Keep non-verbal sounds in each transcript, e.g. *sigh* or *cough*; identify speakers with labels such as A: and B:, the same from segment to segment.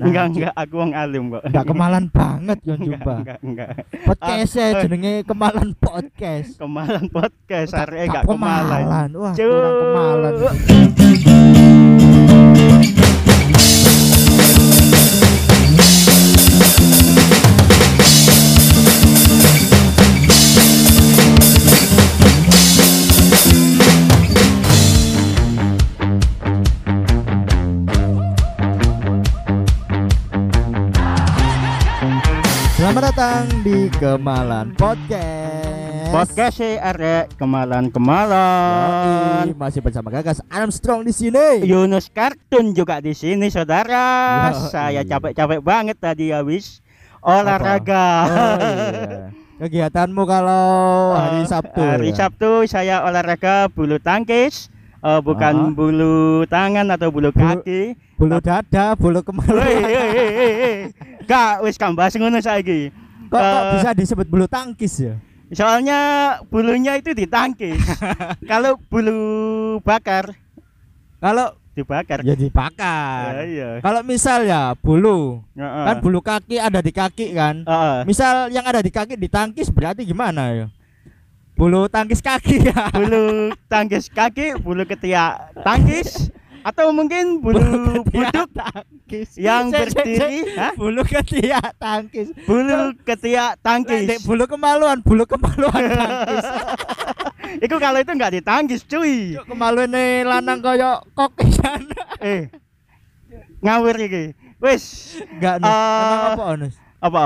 A: Enggak enggak aku wong alim kok.
B: Nah. Enggak kemalan banget yo jumpa.
A: Enggak enggak.
B: Podcast e jenenge kemalan podcast.
A: Kemalan podcast
B: Gak-
A: areke enggak
B: gak
A: eh, kemalan.
B: Wah,
A: Cuk.
B: kurang kemalan. Selamat datang di Kemalan Podcast.
A: Podcast e arek
B: Yoi,
A: kemalan-kemalan.
B: masih bersama Gagas Armstrong di sini.
A: Yunus Kartun juga di sini saudara.
B: Yoi.
A: Saya capek-capek banget tadi habis olahraga.
B: Oh,
A: *laughs*
B: iya. Kegiatanmu kalau Oh, hari Sabtu.
A: Eh, Hari
B: ya?
A: Sabtu saya olahraga bulu tangkis. Eh, bukan
B: Ah.
A: bulu tangan atau bulu
B: *laughs*
A: kaki.
B: Bulu dada, bulu
A: Woi,
B: kemaluan.
A: hei, hei, hei, hei. Kak, wis kambas ngono saiki.
B: Kok, kok
A: Eh,
B: bisa disebut bulu tangkis ya?
A: Soalnya bulunya itu
B: *laughs*
A: ditangkis. Kalau bulu bakar
B: Kalau
A: dibakar. Ya,
B: ya dibakar.
A: iya. Eh.
B: Kalau misal ya bulu,
A: Heeh.
B: kan bulu kaki ada di kaki kan. *laughs*
A: Heeh.
B: Misal yang ada di kaki ditangkis berarti gimana ya? Bulu tangkis kaki ya.
A: Bulu tangkis kaki, bulu ketiak tangkis atau mungkin bulu buduk
B: tangkis.
A: yang
B: Cek, cek,
A: berdiri,
B: cek.
A: Hah?
B: Bulu ketiak tangkis.
A: bulu ketiak
B: Lek,
A: tangkis.
B: bulu kemaluan, bulu
A: *laughs*
B: kemaluan tangkis.
A: Itu kalau itu nggak ditangkis, cuy.
B: Cuk, Kemaluane lanang koyo kokisan.
A: Eh. Ngawur iki. Wis.
B: Enggak nih.
A: Eh,
B: Emang apa Onus?
A: Apa?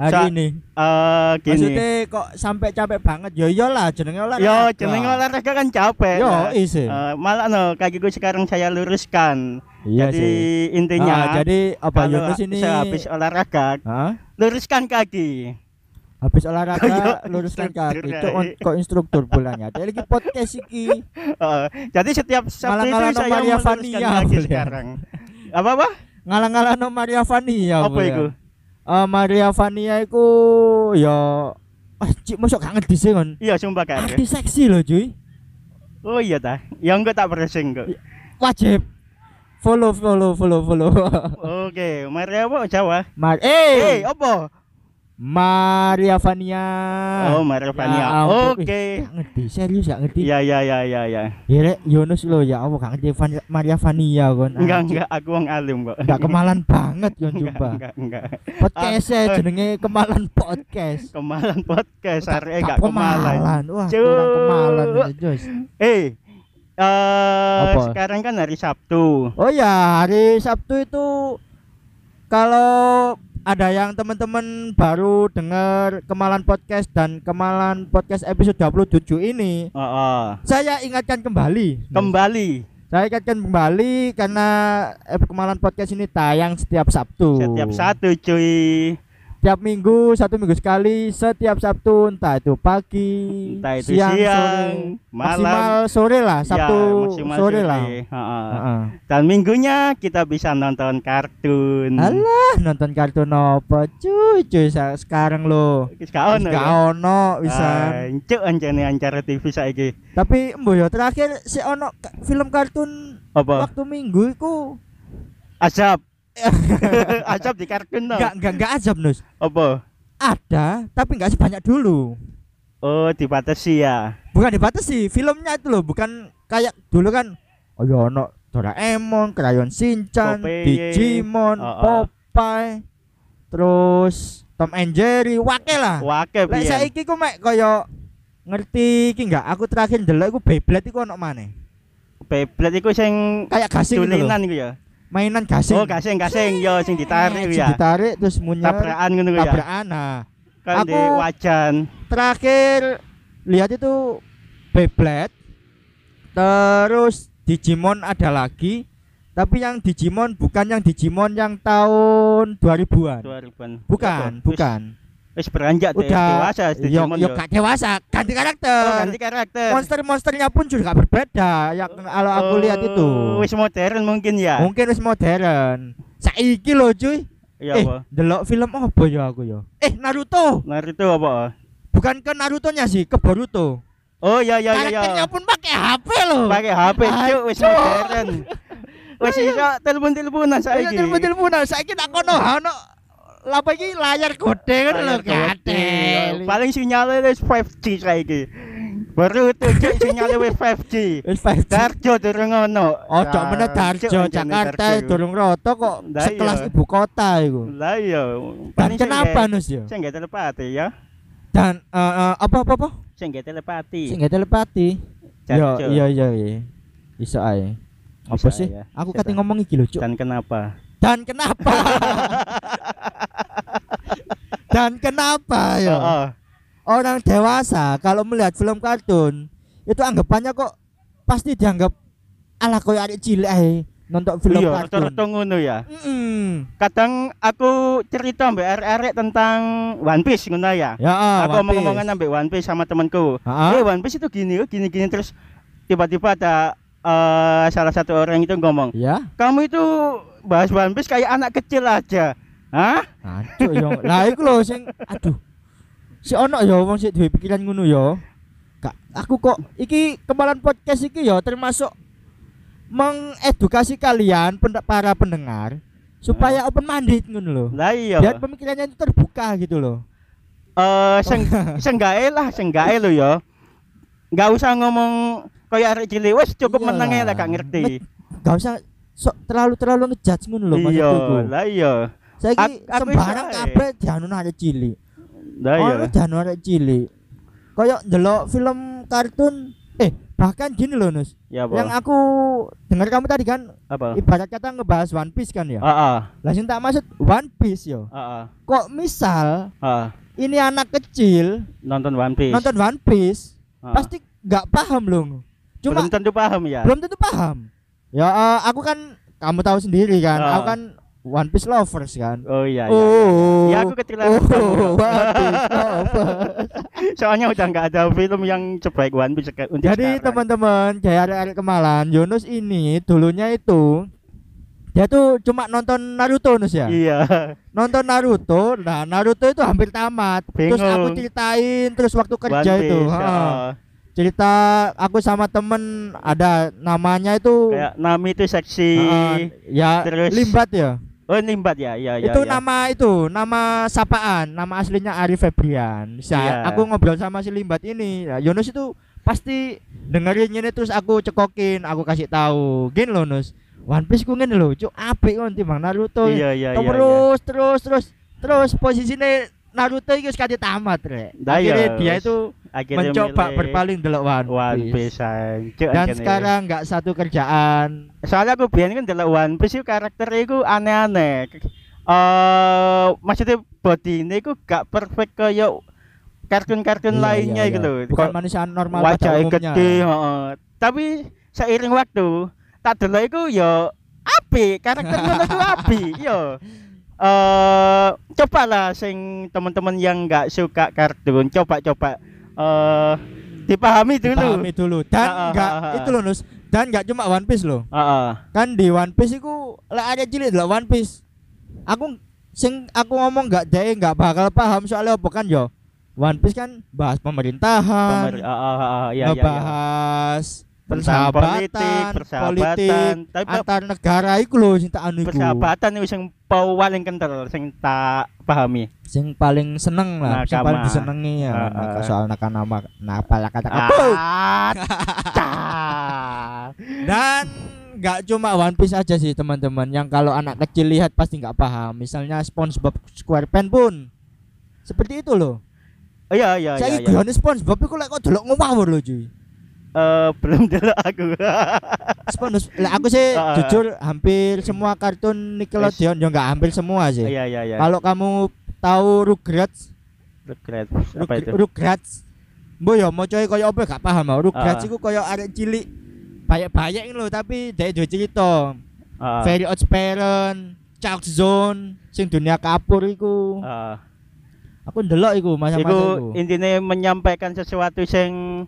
B: Hari
A: Sa-
B: ini.
A: Eh,
B: Maksudnya
A: gini.
B: kok sampai capek banget? Yo iyalah jenenge olahraga.
A: Yo, jeneng olahraga kan capek.
B: Yo, iya
A: Nah,
B: isi.
A: Eh, malah no kaki gue sekarang saya luruskan.
B: Iya
A: jadi
B: sih.
A: intinya
B: Ah, jadi apa
A: kalau
B: Yunus ini
A: sehabis olahraga
B: Hah?
A: luruskan kaki.
B: Habis olahraga
A: Kayak
B: luruskan
A: instruktur
B: kaki
A: ae.
B: Cuk, on- kok instruktur bulannya. Ada lagi podcast iki.
A: Eh, jadi setiap Sabtu itu
B: Malah-malah no
A: saya
B: Maria
A: meluruskan
B: Vania,
A: kaki
B: boleh.
A: sekarang. Apa apa?
B: Ngalang-ngalano Maria Vania.
A: apa
B: bulan.
A: itu?
B: Eh, Maria Vania iku yo Wah, cik mosok gak ngerti sih kon.
A: Iya sumpah kak.
B: Arti seksi loh cuy.
A: Oh iya ta. Yang gue tak browsing
B: Iya.
A: kok.
B: Wajib follow follow follow follow. *laughs*
A: Oke, Maria apa Jawa?
B: Mar
A: Eh,
B: eh
A: apa?
B: Maria Vania.
A: Oh, Maria Vania.
B: Ah. Ya ampun.
A: Oke.
B: Gak ngerti, serius gak ngerti.
A: Iya iya iya iya iya.
B: Ya rek, Yunus lo ya Allah gak ngerti Van- Maria Vania kon.
A: Enggak
B: Anjing,
A: enggak aku wong alim kok.
B: Gak kemalan banget kon
A: Enggak,
B: coba.
A: enggak enggak.
B: Podcast
A: Ah,
B: eh
A: eh.
B: jenenge kemalan podcast.
A: Kemalan podcast arek
B: Gak
A: enggak kemalan.
B: Wah,
A: Cuk.
B: kurang kemalan ya, Jos.
A: Eh, eh
B: Apa?
A: sekarang kan hari Sabtu.
B: Oh ya, hari Sabtu itu kalau ada yang teman-teman baru dengar Kemalan Podcast dan Kemalan Podcast episode 27 ini,
A: Oh, oh.
B: saya ingatkan kembali.
A: Kembali
B: saya ingatkan kembali karena eh, Kemalan Podcast ini tayang setiap Sabtu.
A: setiap satu cuy.
B: Tiap minggu, satu minggu sekali, setiap Sabtu, entah itu pagi,
A: Entah itu
B: siang,
A: siang,
B: sore. maksimal
A: malam,
B: sore lah, Sabtu
A: ya, maksimal
B: sore lah.
A: Heeh.
B: Heeh.
A: Dan minggunya kita bisa nonton kartun.
B: Alah, nonton kartun apa cuy cuy sa- sekarang lo.
A: Wis gak ono. ya?
B: Gak
A: Ah,
B: ono bisa.
A: Ancuk anjane acara TV saiki.
B: Tapi mbo yo terakhir si ono ka- film kartun
A: Apa?
B: waktu minggu iku *laughs*
A: Azab. Azab di kartun
B: enggak
A: dong.
B: enggak enggak azab nus.
A: Apa?
B: Ada, tapi enggak sebanyak dulu.
A: Oh, dibatasi ya.
B: Bukan dibatasi, filmnya itu loh, bukan kayak dulu kan oh yo ono Doraemon, Crayon Shinchan,
A: Popeye.
B: Digimon,
A: Oh, oh.
B: Popeye, terus Tom and Jerry, wake lah.
A: Wake
B: Lek
A: piye?
B: saiki ku mek kaya ngerti iki enggak? Aku terakhir ndelok iku Beyblade iku ono maneh.
A: Beyblade iku sing
B: Kayak gasing gitu loh.
A: tulinan iku ya.
B: Mainan gasing.
A: Oh, gasing gasing yo sing ditarik
B: Eh,
A: iku ya.
B: Ditarik terus munyel.
A: Tabrakan ngono iku ya.
B: Tabrakan. Nah,
A: Kan di
B: Aku-
A: wajan.
B: terakhir lihat itu Beyblade. Terus Digimon ada lagi. Tapi yang Digimon bukan yang Digimon yang tahun 2000-an.
A: 2000-an.
B: Bukan,
A: Wis-
B: bukan.
A: Wis beranjak deh,
B: Udah
A: dewasa wis
B: yo
A: Digimon
B: yo
A: yo.
B: gak dewasa, ganti karakter.
A: Oh, ganti karakter.
B: monster-monsternya pun juga berbeda yang kalau aku lihat itu
A: Oh, wis modern mungkin ya.
B: mungkin wis modern saiki loh cuy
A: Ya
B: eh
A: apa?
B: delok film apa ya aku ya eh Naruto
A: Naruto apa?
B: bukan ke Naruto nya sih ke Boruto
A: Oh ya ya ya ya.
B: karakternya pun pakai HP loh
A: Pakai HP cuk wis
B: Aduh.
A: modern. Wes iso telepon-teleponan saiki.
B: Iya telepon-teleponan saiki tak kono ono lapa iki layar gede kan lho
A: Iya,
B: gatel.
A: Paling sinyalnya wis 5G saiki. Baru itu cek sinyalnya wis 5G.
B: Wis 5G.
A: Darjo durung ono.
B: Ojo meneh Darjo
A: Cuk,
B: Jakarta
A: Darjo.
B: durung roto kok
A: Lah
B: sekelas
A: iya.
B: ibu kota iku.
A: Lah iya.
B: Dan kenapa nus ya?
A: Sing nggak telepati ya.
B: Dan eh, eh, apa apa apa?
A: Sing nggak telepati.
B: Sing nggak telepati. Yo
A: Darjo.
B: iya iya iya. Iso ae. Apa
A: Iso ae,
B: sih?
A: ya.
B: Aku
A: Iso
B: kate
A: ae.
B: ngomong iki lho, Cuk.
A: Dan kenapa?
B: Dan
A: *laughs*
B: kenapa? Dan kenapa ya?
A: Heeh.
B: Orang dewasa kalau melihat film kartun itu anggapannya kok pasti dianggap ala koyo adik cilik ae nonton film
A: Iya,
B: kartun.
A: rata-rata ngono ya.
B: Mm-mm.
A: Kadang aku cerita mbak arek-arek tentang One Piece ngono ya.
B: Ya, ah,
A: aku
B: One Piece.
A: omong-omongan sampai One Piece sama temanku.
B: Ah,
A: Eh One Piece itu gini, oh, gini gini terus tiba-tiba ada eh, salah satu orang itu ngomong,
B: ya.
A: kamu itu bahas One Piece kayak anak kecil aja. Hah?
B: Aduh, yo. Lah iku lho sing aduh. Si ono yo wong sik duwe pikiran ngono yo. Kak, aku kok iki kemalan podcast iki yo termasuk mengedukasi kalian pen- para pendengar
A: Ya.
B: supaya open minded ngono lho.
A: Lah iya.
B: Biar Oh. pemikirannya itu terbuka gitu loh.
A: Eh seng senggae lah, senggae lo ya. Gak usah ngomong kayak arek cilik wes cukup
B: Iyalah.
A: menengnya lah gak ngerti.
B: Gak usah sok terlalu-terlalu ngejudge ngono lho
A: iya,
B: maksudku.
A: lah iya.
B: Saya
A: Ak-
B: iki
A: aku
B: sembarang
A: iso ae.
B: kabeh dianu ada cilik.
A: Lah iya.
B: Ono jan arek cilik. Kayak ndelok film kartun eh bahkan gini loh Nus.
A: Ya apa? Ah.
B: Yang aku dengar kamu tadi kan
A: apa? Ah,
B: ibarat kata ngebahas One Piece kan ya.
A: Heeh.
B: Lah sing tak maksud One Piece yo.
A: Heeh.
B: Kok misal
A: Heeh.
B: ini anak kecil
A: Nonton One Piece.
B: nonton One Piece
A: Heeh.
B: pasti nggak paham loh.
A: Ah.
B: Cuma
A: belum tentu paham ya.
B: belum tentu paham. Ya eh, aku kan kamu tahu sendiri kan.
A: Ah.
B: Aku kan One Piece lovers kan.
A: Oh iya iya.
B: oh.
A: Ya aku ketilang.
B: *laughs* Oh, One Piece lovers.
A: *laughs* Soalnya udah nggak ada film yang sebaik One Piece seka- untuk
B: Jadi
A: sekarang.
B: teman-teman, kayak arek-arek kemalan, Yunus ini dulunya itu dia tuh cuma nonton Naruto Nus ya.
A: Iya.
B: Nonton Naruto, nah Naruto itu hampir tamat. Terus aku
A: Bingung.
B: ceritain terus waktu kerja
A: One
B: itu.
A: Piece, ya. ah.
B: ha.
A: heeh.
B: Cerita aku sama temen ada namanya itu
A: Kayak Nami itu seksi.
B: ha, ya
A: terus-
B: Limbat ya.
A: Oh nimbat ya, ya ya.
B: itu
A: ya.
B: nama itu, nama sapaan, nama aslinya Arif Febrian.
A: Iya.
B: Saya aku ngobrol sama si Limbat ini. Nah, Yunus itu pasti dengerin ini terus aku cekokin, aku kasih tahu. Gin loh Nus. One Piece ku ngene lho, cuk apik kon timbang Naruto.
A: Iya iya iya. iya.
B: terus, terus, terus, terus posisinya Naruto itu sekali tamat, Rek.
A: Nah, iya,
B: Akhirnya dia
A: wes.
B: itu
A: Akhirnya
B: mencoba
A: milih
B: berpaling delok One,
A: One
B: Piece.
A: Piece anjir,
B: Dan
A: anjir.
B: sekarang nggak satu kerjaan.
A: soalnya aku biyen kan delok One Piece Eh, itu karakternya itu aneh-aneh. K- Eh maksudnya body ini itu gak perfect kayak kartun-kartun
B: Iya, iya,
A: lainnya
B: iya.
A: gitu.
B: Bukan
A: Kok-
B: manusia normal pada
A: wajahnya
B: umumnya.
A: gede heeh. tapi seiring waktu tak delok iku ya api karakter ngono iku
B: *laughs*
A: api yo eh cobalah sing teman-teman yang nggak suka kartun coba-coba eh dipahami dulu
B: Pahami dulu. Dan
A: Ah, ah,
B: nggak
A: ah, ah.
B: itu loh Nus. Dan nggak cuma One Piece loh.
A: Heeh.
B: Kan di One Piece itu lah ada cilik lah One Piece. Aku sing aku ngomong nggak deh nggak bakal paham soalnya apa kan yo. One Piece kan bahas
A: Pemer-
B: pemerintahan,
A: heeh, heeh, iya, iya, iya.
B: ngebahas
A: Tentang politik,
B: persahabatan,
A: persahabatan, tapi pe-
B: antar negara iku lho sing tak anu iku.
A: persahabatan itu sing paling kental sing tak pahami.
B: Sing paling seneng lah, sing
A: Nakama.
B: paling disenengi ya.
A: Ah, ah.
B: naka- soal nakama, nakal kata
A: Ah, *laughs* cah.
B: *laughs* Dan nggak cuma One Piece aja sih teman-teman. Yang kalau anak kecil lihat pasti nggak paham. Misalnya SpongeBob SquarePants pun seperti itu loh.
A: Iya iya iya.
B: Saya
A: iya.
B: guyone SpongeBob iku lek kok delok ngawur loh cuy.
A: Eh, *laughs* belum delok aku.
B: SpongeBob lek aku
A: *laughs*
B: sih
A: Ah.
B: jujur hampir semua kartun Nickelodeon ya nggak hampir semua sih.
A: Iya iya iya.
B: Kalau kamu tahu Rugrats,
A: Regret. Apa
B: Rug-
A: itu?
B: Rugrats. Mbok ya macae koyo apa gak paham aku. Rugrats
A: Ah.
B: iku koyo arek cilik banyak-banyak lho tapi dhek dhewe cerita.
A: Ah,
B: Very Odd Parent, Chalk Zone, sing dunia kapur iku.
A: ah.
B: Aku ndelok iku masa-masa
A: Iku
B: iku.
A: intinya menyampaikan sesuatu yang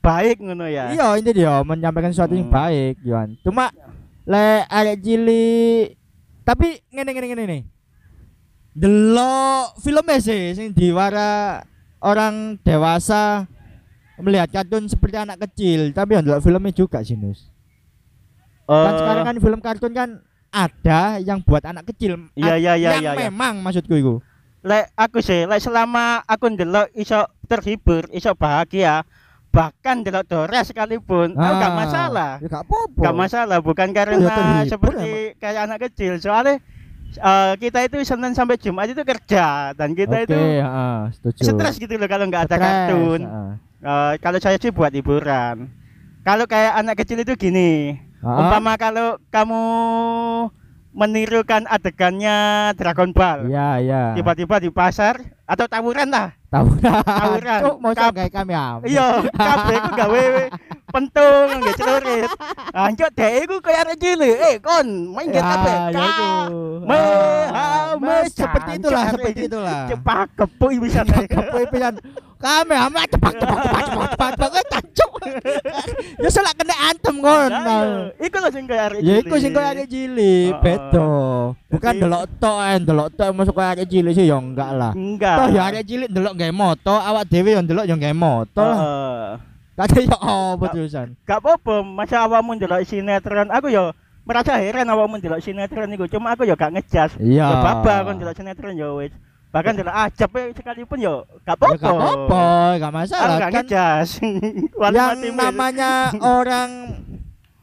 A: baik ngono ya.
B: Iya, ini dia menyampaikan sesuatu yang
A: Hmm.
B: baik, Yohan. Cuma le arek cilik tapi ngene ngene ngene nih. Delok filmnya sih sing diwara orang dewasa melihat kartun seperti anak kecil, tapi yang delok filmnya juga sih, Nus.
A: Eh,
B: kan sekarang kan film kartun kan ada yang buat anak kecil
A: Iya,
B: A-
A: iya, iya,
B: yang
A: iya, iya.
B: memang maksudku itu
A: lek aku sih lek selama aku ndelok iso terhibur iso bahagia bahkan ndelok dores sekalipun aku gak masalah
B: ya gak apa-apa
A: gak masalah bukan karena
B: Iya, terhibur
A: seperti kayak anak kecil soalnya eh, kita itu senin sampai jumat itu kerja dan kita
B: Oke,
A: itu
B: heeh, setuju
A: stres gitu loh kalau nggak ada
B: Stres, ah,
A: kartun
B: heeh.
A: Eh, kalau saya sih buat hiburan kalau kayak anak kecil itu gini
B: Heeh.
A: umpama kalau kamu menirukan adegannya Dragon Ball
B: iya iya
A: tiba-tiba di pasar atau tawuran lah
B: tawuran
A: Tawuran.
B: Cuk, mau
A: Kap-
B: kayak kami am
A: iya kabeh ku gawe pentung nggak celurit anjuk dek iku kaya arek cilik eh kon main
B: Ya, Ah,
A: game kabeh Mehames
B: seperti itulah
A: cancak.
B: seperti itulah *laughs*
A: cepak kepuk bisa naik
B: kepepilihan kami amat cepat cepat cepat cepat cepat banget tancuk ya salah kena antem kon
A: Lah, iya. iku lho sing kaya arek
B: ya iku sing koyo arek cilik
A: Heeh.
B: beda bukan
A: ah, Jadi-
B: delok tok eh, delok tok masuk koyo arek cilik sih ya enggak lah
A: enggak
B: toh ya arek cilik delok gawe moto awak dhewe ya delok ya gawe moto lah *laughs*
A: Heeh.
B: kate ya apa terusan
A: gak apa-apa masa awakmu ndelok sinetron aku yo merasa heran awakmu ndelok sinetron iku cuma aku yo gak ngejas
B: iya
A: ya baba kon ndelok sinetron yo wis bahkan ndelok ajab eh, sekalipun yo gak
B: Ya gak apa-apa
A: apa-apa
B: gak
A: Aku
B: masalah
A: gak
B: kan
A: ngejas
B: yang namanya orang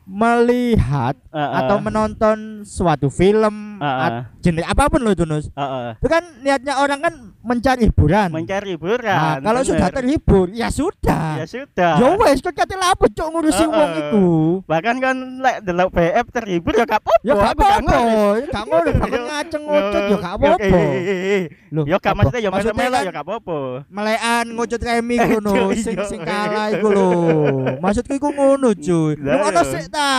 B: melihat atau menonton suatu film at- genre apapun loh Tunus itu kan niatnya orang kan mencari hiburan
A: mencari hiburan
B: Nah, kalau
A: bener.
B: sudah terhibur ya sudah
A: ya sudah
B: ya wes kan kate lapo cok ngurusi
A: Heeh.
B: wong iku
A: bahkan kan lek delok BF terhibur ya gak apa-apa
B: ya
A: aku
B: gak
A: gak
B: apa-apa
A: ngurus.
B: Ya gak ngurus gak
A: *laughs* Yo.
B: ngaceng ngucut ya gak
A: Yo,
B: apa-apa
A: eh, eh, eh, eh.
B: Loh,
A: yo gak
B: apa?
A: maksudnya yo melo-melo
B: kan
A: ya gak apa-apa
B: melekan ngucut remi
A: *laughs*
B: ngono
A: Cuk,
B: sing
A: iya.
B: sing kalah iku lho maksudku iku ngono cuy
A: Lah,
B: lu ono
A: iya.
B: sik ta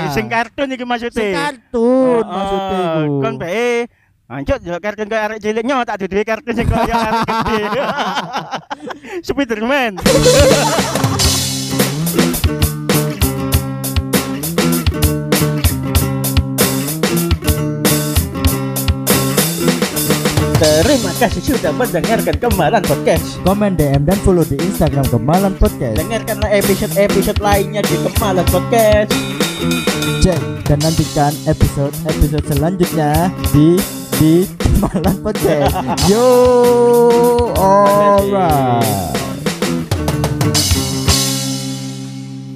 A: Eh, sing kartun iki maksudnya
B: Sing kartun
A: Heeh,
B: maksudnya iku
A: kon PE ancut delok kartun koyo arek cilik nyo tak duwe kartun sing koyo arek gede *laughs* Spiderman Terima kasih sudah mendengarkan Kemalan Podcast.
B: komen DM dan follow di Instagram Kemalan Podcast
A: Dengarkanlah episode-episode lainnya di Kemalan Podcast.
B: cek dan nantikan episode episode selanjutnya di *laughs*
A: *laughs*
B: di Malang Podcast. Yo, alright.